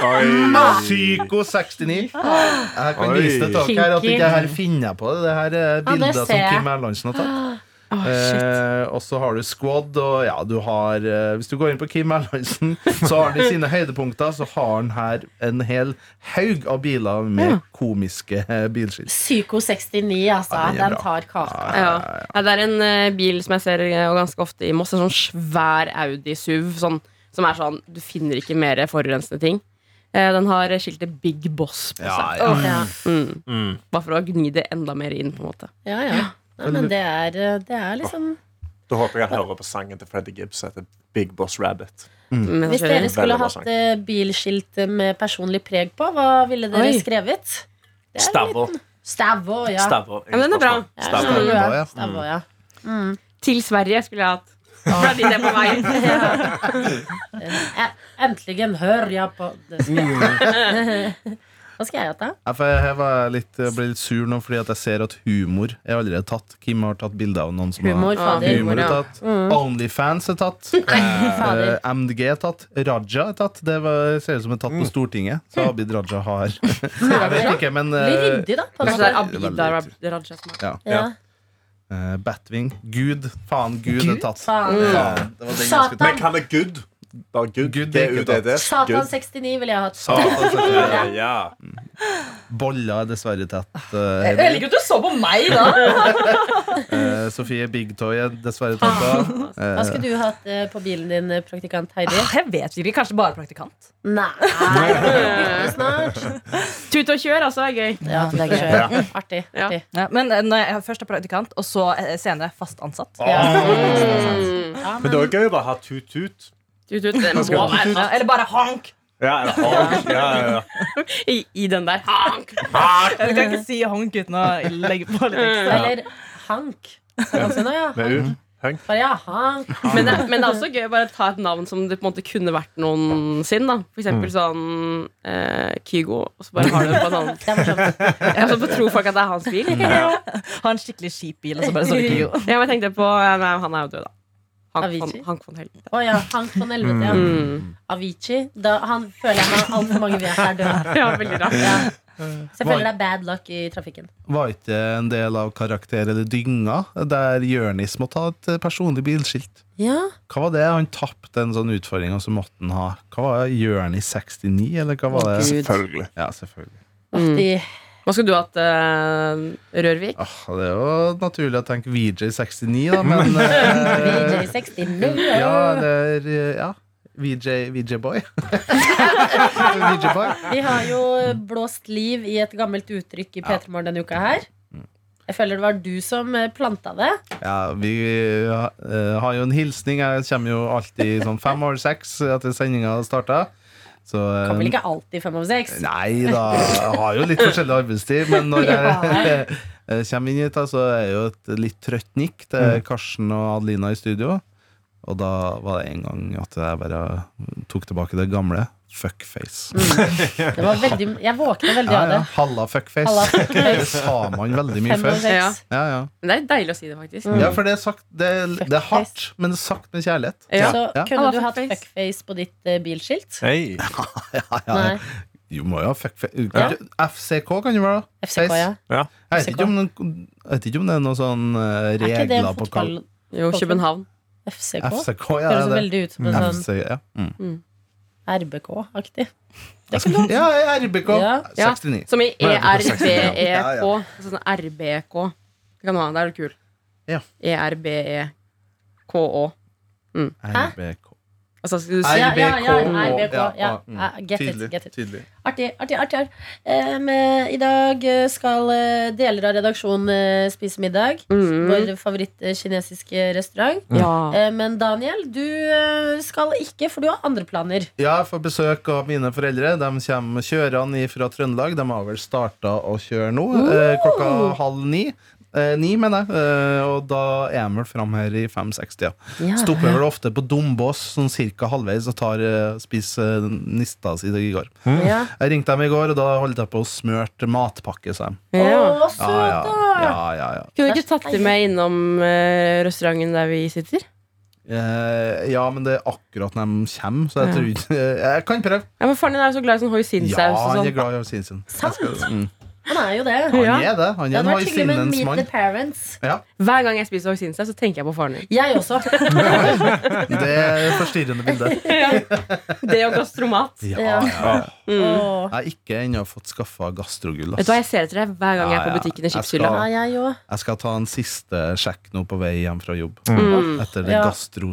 Ah. Psyko 69. Jeg kan Oi. vise det til dere her at Kinky. ikke her finner jeg på det. Det her er Ja, det bilder ser som jeg. Ah, Kim Erlandsen har tatt. Eh, og så har du Squad, og ja, du har eh, Hvis du går inn på Kim Erlandsen, så har han i sine høydepunkter Så har han her en hel haug av biler med komiske eh, bilskilt. Psyko 69, altså. Ja, den er den bra. tar kaka. Ja. Nei, det er en eh, bil som jeg ser eh, ganske ofte i Moss. En sånn svær Audi SUV sånn, som er sånn Du finner ikke mer forurensende ting. Eh, den har skiltet Big Boss på seg. ja. Ja, Mm. Mm. Bare for å gni det enda mer inn. på en måte ja. ja. Nei, men det er, eh, det er liksom Da håper jeg han hører på sangen til Freddy Gibbs som heter Big Boss Rabbit. Men Hvis selvfølgelig- dere skulle Veldig bra hatt eh, bilskilt med personlig preg på, hva ville dere Oi. skrevet? Det er Stavå. litt- Stavå, ja. Stavå. Ja, men den er bra. Ja, Stavå. Stavå, ja. Ja. Stavå, ja. Til Sverige skulle jeg hatt. Fra dit jeg er på (laughs) vei. Eh, Endelig hører jeg på det skal jeg. (laughs) Hva skal jeg hete? Ja, for jeg her var jeg litt, jeg ble litt sur nå fordi at jeg ser at humor er allerede tatt. Kim har tatt bilde av noen som Humor, har fader. Humor er ja. tatt. Onlyfans er tatt. Fader. Eh, MDG er tatt. Raja er tatt. Det var, ser ut som er tatt på Stortinget. Så Abid Raja har Jeg vet ikke, men Bli eh, ryddig, da. På en Kanskje det måte. er Abida Rab- Raja som er Ja. eh, Batwing. Gud. Faen, Gud, er tatt. Faen. Faen, det var den jeg skulle Satan. Men kan det good? Bare good. Good, det er ikke G-U-D-D. Satan Good. 69 ville jeg hatt. ta. Satan, så- Ja, ja. Bolla er dessverre tatt. Jeg Eh, liker at du så på meg, da. (laughs) eh, Sofie Big Toy er dessverre tatt. Hva Eh, skulle du hatt eh, på bilen din, eh, praktikant Heidi? Jeg vet ikke. Kanskje bare praktikant. (laughs) Nei, vi bytter snart. Tut og kjør, altså. er gøy. Ja, det er gøy. Artig. artig. Ja, men eh, når jeg først er praktikant, og så eh, senere fast ansatt. Ja, Men det er gøy å bare ha tut-tut. Tut, tut. Den må være Ja, eller bare hank. Ja, eller honk. Ja, ja, ja. I, I den der. Hank! Jeg (laughs) kan ikke si hank uten å legge på litt ekstra. Eller hank. Altså, nå, ja. Med U. Hunk. Bare jaha. Men det, men det er også gøy å bare ta et navn som det på en måte kunne vært noen sin. da For eksempel sånn eh, Kygo. Og så bare har du det på en annen Det er morsomt. Ja, så tror folk at det er hans (laughs) bil. Ha en skikkelig kjip bil, og så bare står det Kygo. Ja, men jeg tenkte på eh, Nei, han er jo død, da. Hank von, Avicii? Hank von Helvete. Å ja, Hank von Helvete. Ja. Mm. Avicii. Da, han føler jeg meg altfor mange vet er (laughs) død. Ja, veldig rart. Ja. Så jeg føler det er bad luck i trafikken. Var ikke en del av Karakter eller dynga, der Jørnis må ta et eh, personlig bilskilt? Ja, Hva var det? Han tapte en sånn utfordring, og så måtte han ha Hva var det? Jørnis 69, eller hva var det? Selvfølgelig. Ja, selvfølgelig. Mm. de, Hva skulle du hatt, eh, Rørvik? Ah, det er jo naturlig å tenke VJ69, (laughs) da, men eh, VJ69. (laughs) Ja, det er eh, Ja. VJ, VJ Boy. (laughs) VJ Boy. Vi har jo blåst liv i et gammelt uttrykk i P3 Morgen denne uka her. Mm. Jeg føler det var du som eh, planta det. Ja, vi eh, har jo en hilsning. Jeg kommer jo alltid sånn fem over seks etter sendinga starta. Så eh, Kommer vel ikke alltid fem over seks? Nei da, jeg har jo litt forskjellig arbeidstid, men når jeg (laughs) eh, kommer inn hit, da, så er jeg jo et litt trøtt nikk Mm. til Karsten og Adelina i studio. Og da var det en gang at jeg bare tok tilbake det gamle. Fuckface. Det var veldig, jeg våkna veldig Ja, av ja. Mm, det. Halla, fuckface. (laughs) Halla, fuckface. Det sa man veldig mye Fem over før. seks. Ja. Ja, ja. Men det er deilig å si det, faktisk. ja, for det er, sagt, det, er- det er hardt, Fuckface. men det er sagt med kjærlighet. Ja. Så Ja. kunne Halla, du hatt fuckface. fuckface på ditt eh, bilskilt? Hei. Ja, Nei. Du må jo ha fuckface. Ja. FCK kan jo være da. FCK, ja. Jeg vet, ikke om, den- jeg vet ikke om det er noen sånn eh, Er ikke det regler en på hva fotball... Jo, København. FCK? FCK, ja, Høres det er det. veldig ut som en sånn FC, ja. Mm. RBK-aktig. ja, RBK. Ja. Ja. 69. Som i E Ja, ERBEK. ja. Sånn RBK. Det kan du ha. Det er E jo kul. Ja. ERBEKÅ. Hæ? RBK. Altså, skal du si Ja, ja, ja, RBK, RBK, ja, ja. mm. Ja, get it, Tydelig. get it. tydelig. Artig, artig, artig. artig. Em, eh, I dag eh, skal eh, deler av redaksjonen eh, spise middag. mm. Vår favorittkinesiske restaurant. Ja. Eh, Men Daniel, du eh, skal ikke, for du har andre planer. Ja, jeg får besøk av mine foreldre. De kommer kjørende fra Trøndelag. De har vel starta å kjøre nå, eh, klokka halv ni. Eh, ni, mener jeg. Eh, og da er de vel fram her i fem-seks-tida. Stopper vel ofte på Dombås sånn cirka halvveis og tar, eh, spiser eh, nista si i går. Ja. Jeg ringte dem i går, og da holdt jeg på å smøre matpakke, sa de. Ja. Å, søt, Ah, Ja, da! ja, ja, ja, ja. Kunne du ikke tatt det med innom eh, restauranten der vi sitter? Eh, ja, men det er akkurat når de kommer, så jeg tror ikke eh, Jeg kan prøve. Ja, men Faren din er jo så glad i sånn Ja, hoisinsaus og han er sånn. glad i Sinsen. Sant! Mm. Han er jo det. Han Ja. er det. Han Det er hadde en vært hyggelig med hoisinens Meet the mann. Parents. Hver gang jeg spiser hoisinsaus, så tenker jeg på faren din. Jeg også. (laughs) Det er et forstyrrende (laughs) bilde. Det og gastromat. Ja, Ja. ja. Mm. Åh. Jeg har ikke ennå fått skaffa gastrogull. Vet ass. du hva, Jeg ser etter deg hver gang jeg er Ja, på ja. butikken i Jeg skal- Skipshylla. Ja, jeg òg. Jeg skal ta en siste sjekk nå på vei hjem fra jobb. Mm. Sånn Etter det Ja. gastro...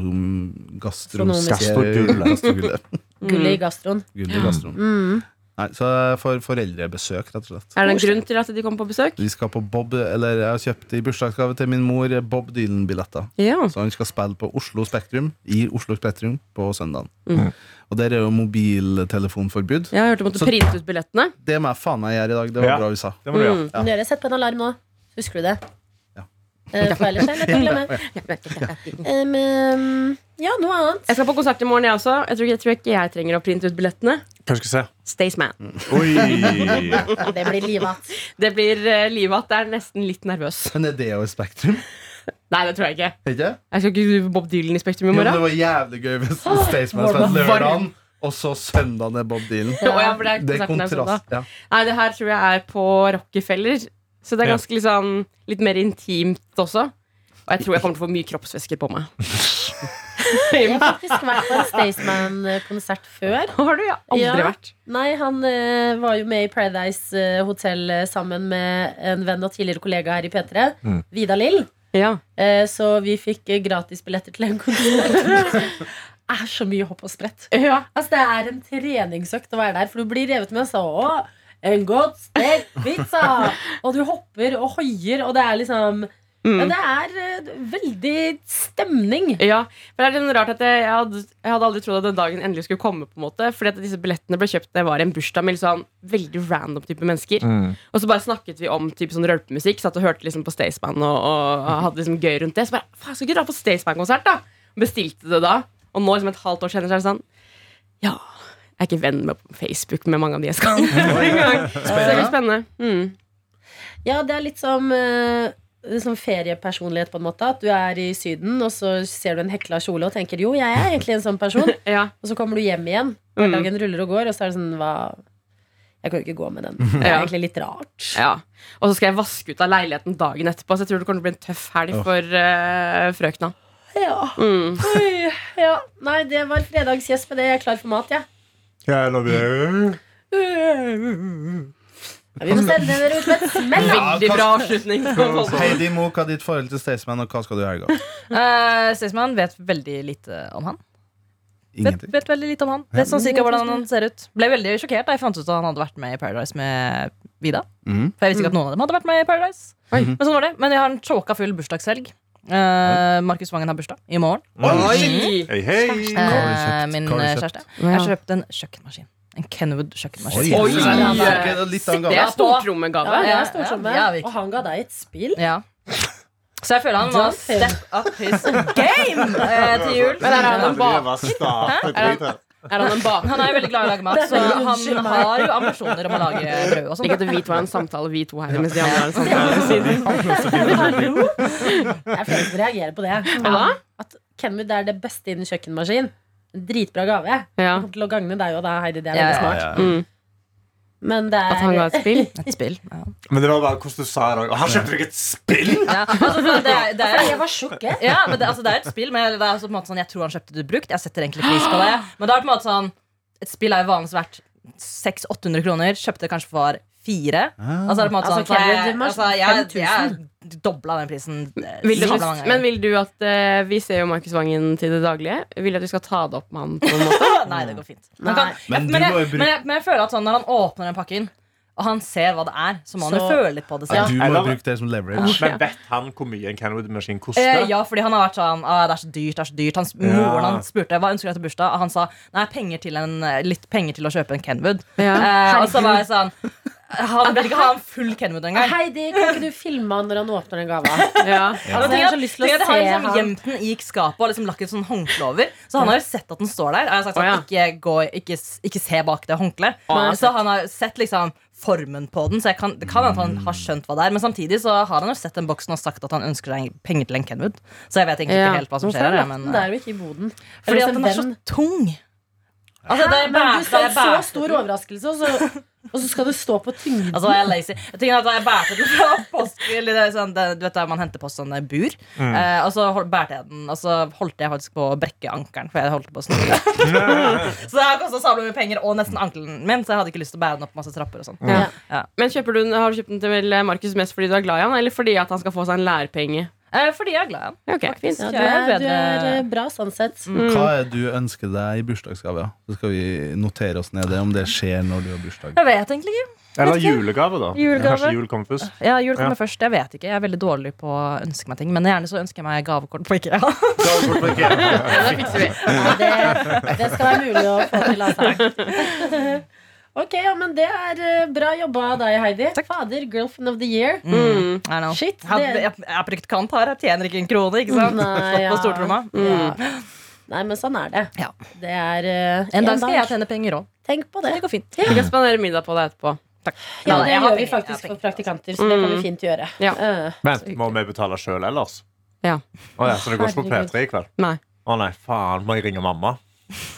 gastro Astronomiske- Gastrogullet. Gastrogullet. Gullet i gastroen. Gull i gastroen. Mm. Nei, så jeg får foreldrebesøk, rett og slett. Er det en grunn til at de kommer på besøk? Vi skal på Bob, eller Jeg har kjøpt i bursdagsgave til min mor Bob Dylan-billetter. Ja. Så han skal spille på Oslo Spektrum i Oslo Spektrum på søndagen. Mm. Og der er jo mobiltelefonforbud. Jeg har hørt du måtte Så- printe ut billettene. Det må jeg faen meg gjøre i dag. Det var Ja. bra vi sa. Det må du Mm. gjøre. Ja. Dere, sett på en alarm nå. Husker du det? Ja. Eh, For ellers er det lett å (laughs) glemme. Em, em, ja, noe annet. Jeg skal på konsert i morgen, jeg også. Jeg tror, ikke- jeg tror ikke jeg trenger å printe ut billettene. Hva skal vi se? Staysman. Mm. Oi! Ja, det blir livat. Det blir uh, livet at jeg er nesten litt nervøs. Men er det jo i Spektrum? Nei, det tror jeg ikke. Er Ikke? Jeg skal ikke du Bob Dylan i Spektrum i Jo, men det morgen. var jævlig gøy hvis Staysman Hvordan spilte var det? lørdagen, og så søndagen er Bob Dylan. Å, ja, for det er Det er konserten der søndag. kontrast. Ja. Nei, det her tror jeg er på Rockefeller. Så det er Ja. ganske liksom, litt mer intimt også. Og jeg tror jeg kommer til å få mye kroppsvæsker på meg. (laughs) Jeg har faktisk vært på en Staysman-konsert før. Har du ja, aldri Ja. vært? Nei, han eh, var jo med i Paradise eh, Hotel eh, sammen med en venn og tidligere kollega her i P3, Mm. Vida Lill. Ja. Eh, så vi fikk eh, gratis billetter til en konsert. Det er så mye hopp og sprett. ja. Altså, det er en treningsøkt å være der, for du blir revet med og så Å, en godt stekt pizza! Og du hopper og hoier, og det er liksom Mm. Ja, det er eh, veldig stemning. Ja, for det er litt rart at jeg, jeg, hadde, jeg hadde aldri trodd at den dagen endelig skulle komme. på en måte Fordi at disse billettene ble kjøpt da jeg var i en bursdag med litt sånn veldig random type mennesker. Mm. Og så bare snakket vi om typ, sånn rølpemusikk. Satt og hørte liksom på Staysman og, og, og hadde liksom gøy rundt det. Så bare, faen, skal ikke dra på Staysman-konsert, da? Bestilte det da. Og nå, liksom et halvt år senere, så er det sånn Ja, jeg er ikke venn med på Facebook med mange av de jeg skal. (laughs) engang. så det er litt spennende. Mm. Ja, det er litt som eh, det er som feriepersonlighet, på en måte. At du er i Syden, og så ser du en hekla kjole og tenker jo, jeg er egentlig en sånn (laughs) person. Mm, Og så kommer du hjem igjen. Mm. Hverdagen ruller og går, og så er det sånn hva Jeg kan jo ikke gå med (laughs) den. Det er Ja. egentlig litt rart. Ja. Og så skal jeg vaske ut av leiligheten dagen etterpå, så jeg tror det kommer til å bli en tøff helg Åh. for eh, frøkna. Ja. Mm. Oi, ja. Nei, det var fredagsgjest med det. Jeg er klar for mat, jeg. Jeg lover Ja. Vi må sende dere ut med et smell. da. Veldig bra avslutning. Heidi Moe, hva er ditt forhold til Staysman, og hva skal du i helga? Uh, Staysman vet veldig lite om han. Vet, Ingenting. vet veldig lite om han. Ja. Vet sånn cirka hvordan han ser ut. Ble veldig sjokkert da jeg fant ut at han hadde vært med i Paradise med Vida. Mhm. For jeg visste ikke at noen av dem hadde vært med i Paradise. Oi. Men sånn var det. Men jeg har en choka full bursdagshelg. Eh, Markus Vangen har bursdag i morgen. Oi! Mhm. Hei, hei! Eh, Hva har du kjøpt? min Hva har du eh, kjøpt? kjæreste. Ja. Jeg har kjøpt en kjøkkenmaskin. En Kenwood kjøkkenmaskin. Oi! Oi! Ja, Ok, litt av en gave. Det er Ja, stortrommegave. det er stortromme. Ja, ja, virkelig. og han ga deg et spill. Ja. Så jeg føler han må Da føler- step up his (laughs) game eh, til jul. Men er han en bak- Driver startet Er han- dritt her. Er han en baker? Han er jo veldig glad i å lage mat, så Unnskyld han meg. har jo ambisjoner om å lage brød og sånn. sånt. Ikke at vi to har en samtale, vi to her, mens de andre har en samtale ved siden. Det er flere som reagerer på det. Hva? At Kenwood er det beste innen kjøkkenmaskin. En Dritbra gave. Det kommer til å gagne deg og deg, Heidi. Det er Ja, veldig ja, smart. ja. Mm. Men det er At han ga et spill? Et spill, ja. Men det var bare hvordan du sa det òg. Han kjøpte deg et spill! Ja, altså, for det er, det er, Jeg var sjokkert. ja, men det, altså, det er et spill, men det er også på en måte sånn, jeg tror han kjøpte det brukt. Jeg setter egentlig pris på det. Men det er på en måte sånn Et spill er jo vanligvis verdt 600-800 kroner. Kjøpte det kanskje for fire. Ah. Altså, det er på en måte sånn Altså, så jeg, Kevin, du må- altså, jeg, 5000. jeg dobla den prisen. eh, Vil du, sabla mange ganger. men vil du at eh, Vi ser jo Markus Vangen til det daglige. Vil du at vi skal ta det opp med han på en måte? Nei, det går fint. Nei. Han kan, Men men, du men, må jo jeg, bruke- men, jeg, men jeg føler at sånn, når han åpner den pakken, og han ser hva det er, så må han jo Så- føle litt på det Ja, du selv. må bruke det som Men leverage. vet han hvor mye en Canwood-maskin koster? Eh, ja, fordi han har vært sånn ah, Det er så dyrt. det er så dyrt Hans, Moren Ja. han spurte hva ønsker du deg til bursdag, og han sa nei, penger til en, eh, litt penger til å kjøpe en Kenwood. Eh, Ja. og så var jeg sånn Han vil ikke ha en full Kenwood engang. Heidi, kan ikke du filme han når han åpner den (laughs) gava? Ja. Altså, jeg har så lyst til å jeg se har liksom han. gjemt den i skapet og liksom lagt et sånn håndkle over. Så han har jo sett at den står der. Og jeg har sagt sånn, ikke, gå, ikke, s- ikke se bak det håndkleet. Nei. Så han har sett liksom formen på den, så jeg kan, det kan hende at han har skjønt hva det er. Men samtidig så har han jo sett den boksen og sagt at han ønsker seg penger til en Kenwood. Så jeg vet egentlig Ja. ikke helt hva som Hvorfor har skjer du her. lagt Men, eh, den eh, der og ikke i boden? fordi Eller hos at en den er så venn? tung. Altså, Hæ? da jeg Men bæ- du da skal jeg ha så bæ- stor overraskelse, og så, og så skal du stå på tyngden. Altså, jeg er lazy. Jeg tenker at da jeg bærte den fra post eller det, er sånn, det, Du vet der man henter på sånne bur. Mm. Eh, og så hol- bærte jeg den, og så holdt jeg faktisk på å brekke ankelen. For jeg holdt på å snu. så det har kosta sabla mye penger og nesten ankelen min, så jeg hadde ikke lyst til å bære den opp masse trapper. og sånn Ja. Ja. Men kjøper du, den- Har du kjøpt den til eh, Markus mest fordi du er glad i han, eller fordi at han skal få seg en lærepenge? Eh, fordi jeg er glad i han. Ja, ok, fint. Ja, Jeg du, er er, bedre- du er eh, bra sånn sett. Hva er det du ønsker deg i bursdagsgave? Så skal vi notere oss ned det, om det skjer når du har bursdag. Jeg vet egentlig ikke. Eller julegave, da. Julegave. Kanskje jul kommer først. Ja, Jul kommer Ja. først. Jeg vet ikke. Jeg er veldig dårlig på å ønske meg ting. Men gjerne så ønsker jeg meg gavekort på (laughs) IKEA. Det fikser vi. Ja, det, det skal være mulig å få til, altså. (laughs) Ok, ja, men Det er eh, bra jobba av deg, Heidi. Fader, girlfriend of the year. Mm. I know. Shit, Jeg hadde- det- jeg- jeg har brukt kant her. Jeg tjener ikke en krone, ikke sant? Nei, Slått ja. på stortromma. Ja. Mm. Nei, men sånn er det. Det er eh, En dag skal jeg tjene penger òg. Tenk på det. Det går fint. Vi kan spandere middag på deg etterpå. Ja, det Jeg gjør har vi penger, jeg har faktisk for praktikanter, så det Mm. kan vi fint gjøre. Ja. Eh, Men må vi betale sjøl ellers? Ja. Å ja, så det går ikke på Herregud. P3 i kveld? Nei. Å nei, faen, må jeg ringe mamma?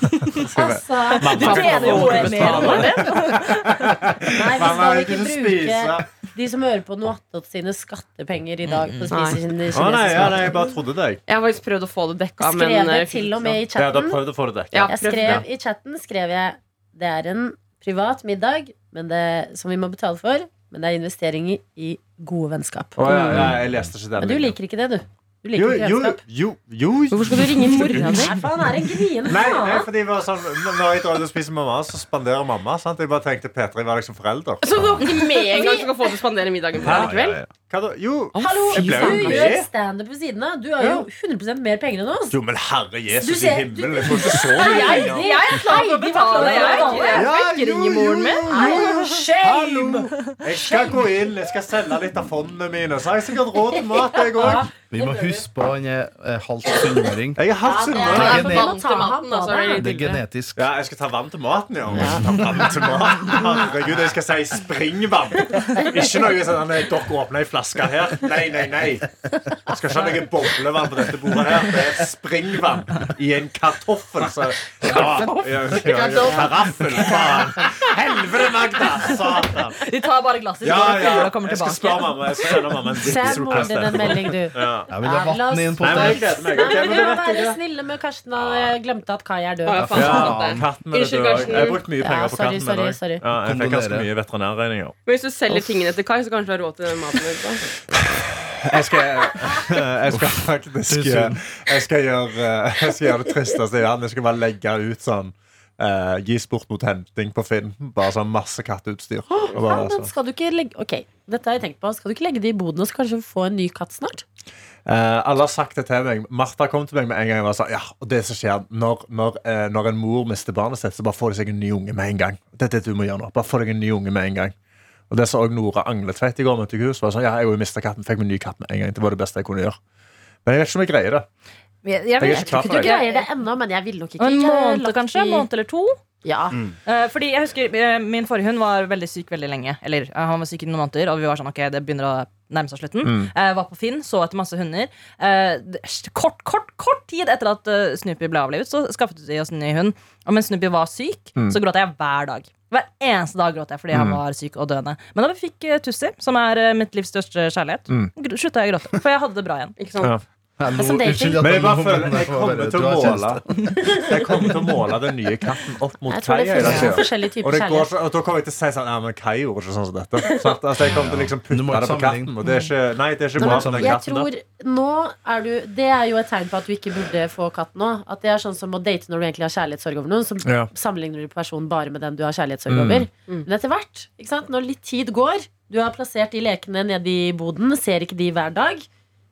Altså, Mamma, du tjener jo hvorfor mer enn betaler jeg? (laughs) Nei, vi Mamma, skal jeg ikke kunne bruke de som hører på Noatot sine skattepenger i dag Mm, på å Nei. spise sine Å nei, ja, kinesiske nei, jeg bare trodde deg. Jeg har faktisk prøvd å få det dekka. Skrev men, eh, det til og med i Ja, du har chatten. prøvd å få det dekket. Ja, Jeg prøvd, skrev i chatten skrev jeg Det er en privat middag men det, som vi må betale for, men det er investering i, i gode vennskap. Å ja, ja, jeg leste ikke den. Men du linjen. liker ikke det, du. Du liker ikke jo, redskap. jo, jo. Hvorfor skal du ringe mora (laughs) di? Nei, for han er en gnien Nei, faen. nei, fordi det var sånn, n- når jeg drar ut og spiser med mamma, så spanderer mamma. sant? Jeg bare tenkte P3 var liksom forelder. Så det var ikke med en gang som kan få til å spandere middagen på deg likevel? Hva da? Jo, Hallo, jeg ble jo du gjør med. standup ved siden av. Du har jo 100 mer penger enn oss. Jo, men herre Du Jesus i ser- himmelen, jeg får ikke så mye Jeg- penger. jeg er klar for å betale, jeg. Jeg får ikke ringe moren min. Nei, shame! Jeg skal gå inn, jeg skal selge litt av fondene mine. Så har jeg sikkert råd til mat, jeg òg. Vi må huske på han er eh, halvt sunnmøring. Jeg er halvt Det sunnmøring. er, Ja, det er genet- for vann til maten, altså, det er det er genetisk. Ja, jeg skal ta vann til maten, ja. Jeg skal ta vann til maten. Herregud, jeg skal si springvann. Ikke noe sånn nei, dere åpner ei flaske her. Nei, nei, nei. Jeg skal ikke ha noe boblevann på dette bordet her. Det er springvann i en kartoffel. Så, ja, ja, ja, ja, karaffel, faen. Helvete, Magda! Satan. De tar bare glasset Ja, ja. de fyller og kommer Jeg skal tilbake. spørre mamma. Jeg skal sende mamma en Send moren din en melding, du. Ja. Jeg vil ha Ja, la oss- vann inn på Nei, men jeg gleder meg. Ok, Nei, men vi men da må vet jeg være det. snille med Karsten. Han jeg glemte at Kai er død. Ja, faen, Ja, katten er Unnskyld, død. Karsten. Jeg har brukt mye penger Ja, på sorry, katten. sorry, men også- sorry. Ja, jeg fikk ganske Kondolerer. mye veterinærregninger. Men hvis du selger Uff. tingene til Kai, så kanskje du har råd til den maten. etterpå. Jeg skal, (laughs) jeg skal faktisk eh, det er synd. jeg skal, gjøre, jeg skal gjøre det tristeste jeg gjør. Jeg skal bare legge ut sånn eh, Gis bort mot henting på Finn. Bare sånn masse katteutstyr. Og Ja, bare, men sånn. skal du ikke legge Ok, dette har jeg tenkt på. Skal du ikke legge det i boden, og så kanskje få en ny katt snart? Eh, alle har sagt det til meg. Martha kom til meg med en gang. Og var sånn, ja, og det som skjer når, når, eh, når en mor mister barnet sitt, så bare får de seg en ny unge med en gang. Det er det du må gjøre nå. Bare få deg en ny unge med en gang. Og det sa også Nora Angletveit i går. møtte jeg henne, så var det sånn, ja, jeg mista katten, fikk meg en ny katt med en gang. Det var det beste jeg kunne gjøre. Men jeg vet ikke om jeg greier det. Jeg, Jeg er vet ikke ikke klar du for det. greier det ennå, men jeg vil nok ikke. En Jeg har måned lagt kanskje, i- en måned eller to Ja. Mm. Eh, Fordi jeg husker eh, Min forrige hund var veldig syk veldig lenge. Eller eh, han var syk i noen måneder, og vi var sånn, ok, det begynner å nærme seg slutten. Mm. Eh, var på Finn, så etter masse hunder. Eh, det- kort, kort, kort tid etter at eh, Snoopy ble avlivet, så skaffet vi oss en ny hund. Og mens Snoopy var syk, Mm. så gråt jeg hver dag. Hver eneste dag gråt jeg fordi han Mm. var syk og døende. Men da vi fikk eh, Tussi, som er eh, mitt livs største kjærlighet, Mm. gr- slutta jeg å gråte. For jeg hadde det bra igjen. (laughs) Ja. Ja, nå- Altså, det er ikke- unnskyld at Men jeg jeg bare må- føler jeg jeg får kommer bare- til du å har måle Jeg kommer til å måle den nye katten opp mot Jeg tror Kai. det jeg, finnes da, sier jeg. forskjellige typer altså. og, det går, kjærlighet. så- og da kommer jeg til å si sånn Ja, men Kai gjorde ikke sånn som dette. Sant? altså, jeg kommer til å liksom putte Du må ikke det på sammenligne. katten. Og det er ikke, nei, det er ikke Nei, bra men for den Jeg katten. tror nå er du Det er jo et tegn på at du ikke burde få katt nå. At det er sånn som å date når du egentlig har kjærlighetssorg over noen. Så Ja. sammenligner du personen bare med den du har kjærlighetssorg Mm. over. Men etter hvert, ikke sant? når litt tid går, du har plassert de lekene nede i boden, ser ikke de hver dag.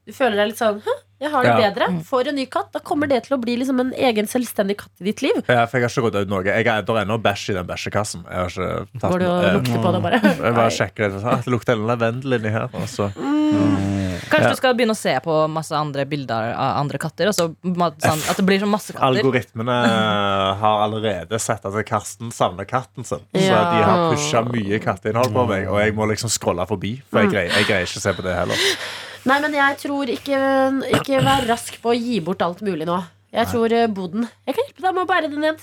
Du føler deg litt sånn Hæ, jeg har det Ja. bedre. Får en ny katt. Da kommer det til å bli liksom en egen selvstendig katt i ditt liv. Ja, for jeg har ikke rydda ut noe. Jeg har det er ennå bæsj i den bæsjekassen. Jeg har ikke tatt Går det den. og Eh, lukter på det bare? Jeg bare sjekker det. Ah, det lukter en lavendel inni her. Og så. Mm. Kanskje Ja. du skal begynne å se på masse andre bilder av andre katter? Og så, ma- sånn, at det blir sånn masse katter Algoritmene har allerede sett at Karsten savner katten sin. Så Ja. de har pusha mye katteinnhold på meg, og jeg må liksom scrolle forbi. For Mm. jeg greier, jeg greier ikke å se på det heller. Nei, men jeg tror ikke, ikke vær rask på å gi bort alt mulig nå. Jeg tror eh, boden Jeg kan hjelpe deg med å bære det ned.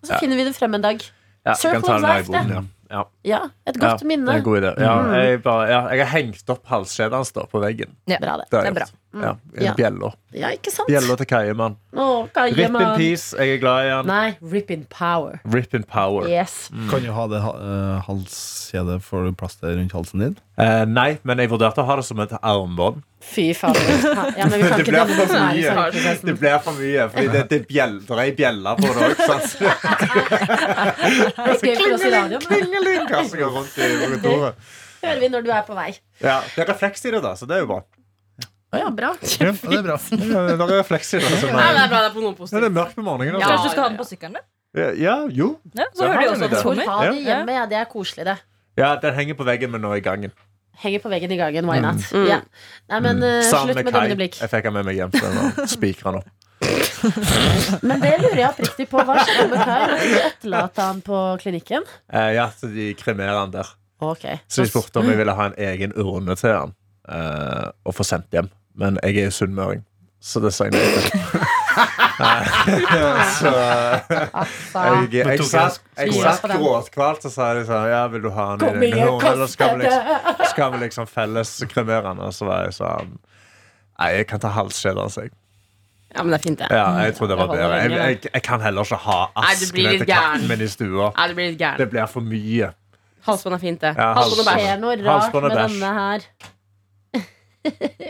Og så Ja. finner vi det frem en dag. Ja, jeg kan Circle ta of den der i life, boden, det. ja. Ja. Ja, et godt ja, minne. Det er en god idé. Ja, Mm. jeg, bare, ja, jeg har hengt opp halskjedet hans da, på veggen. Ja, bra det. har Det jeg er bra. gjort. Ja, Mm. Ja. Bjella. Ja, ikke sant? Bjella til Kaiemann. Å, hva gjør Rip in man? peace. Jeg er glad i han. Nei, rip in power. Rip in power. Yes. Mm. Kan du ha det uh, halskjedet Får du plass til rundt halsen din? Eh, nei, men jeg vurderte å ha det som et armbånd. Fy fader. Ja, men vi kan (laughs) det ikke blir dømme for oss her i mye. sorgprosessen. Det blir for mye, fordi det, det, bjell, det er ei bjelle på det (laughs) òg. Det er gøy for oss i radioen. Klingeling, klingeling, rundt i kontoret. Hører vi når du er på vei. Ja, det er refleks i det, da, så det er jo bra. Å ja, bra. Ja, det er bra. det er refleks i det. Så Nei, det er bra, det er på noe Ja, positivt. det er mørkt på morgenen. Ja, Kanskje du skal ha den på sykkelen din? Ja, ja, jo. Ja, så Jeg hører har de en også idé. at det kommer. Ha det sånn. Ja. hjemme, ja. Det er koselig, det. Ja, den henger på veggen, men nå i gangen. Henger på veggen i gangen. Why not? Mm. Ja. Nei, men eh, Sammen slutt med Kai. dømmende blikk. Jeg fikk han med meg hjem til den og spikret (laughs) han opp. Men det lurer jeg oppriktig på. Hva skjedde med Kai? Måtte de etterlate han på klinikken? Eh, ja, så de kremerer han der. Ok Så de spurte om jeg ville ha en egen urne til han eh, og få sendt hjem. Men jeg er jo sunnmøring, så det sa jeg nei (laughs) til. Eh, så jeg, jeg, Men tok satt, jeg- jeg skole. satt gråtkvalt og sa de sånn Ja, vil du ha han i din urne, eller skal vi liksom, skal vi liksom felles kremere han? Og så var jeg sånn Nei, jeg kan ta halskjedet hans, jeg. Ja, men det er fint, det. Ja, jeg tror det var holder bedre. Jeg, lenge, det. jeg, jeg kan heller ikke ha Nei, du blir askene litt til katten gæren. min i stua. Nei, du blir litt Det gæren. blir for mye. Halsbånd er fint, det. Ja, Halsbånd og Det bæsj. skjer noe rart Halsbånd og med bæsj. denne her.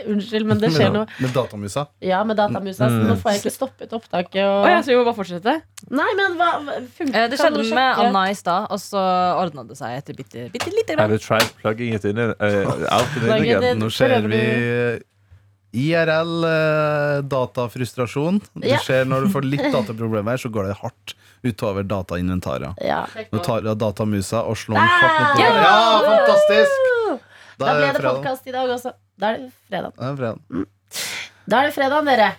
(laughs) Unnskyld, men det skjer noe. Med datamusa. Ja, med datamusa, så nå Mm. får jeg ikke stoppet opptaket. Å, Og... ja, så vi må bare fortsette? Nei, men hva funker, Eh, Det skjedde med Anna i stad, og så ordna det seg etter bitte, bitte lite Have grann. you tried plugging it in, uh, out and in Plug it again? in. Nå ser vi IRL eh, datafrustrasjon. Det Ja. skjer når du får litt (laughs) dataproblemer, så går det hardt utover datainventarer. Ja. Nå tar jeg datamusa og slår den hardt mot bordet. Ah! Ja, fantastisk! Da Da er ble det det fredag. podkast i dag også. Da er det fredag. Det er fredag. Da er det fredag, dere.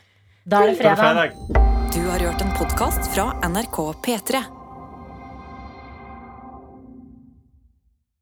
Da er det fredag. Du har hørt en podkast fra NRK P3.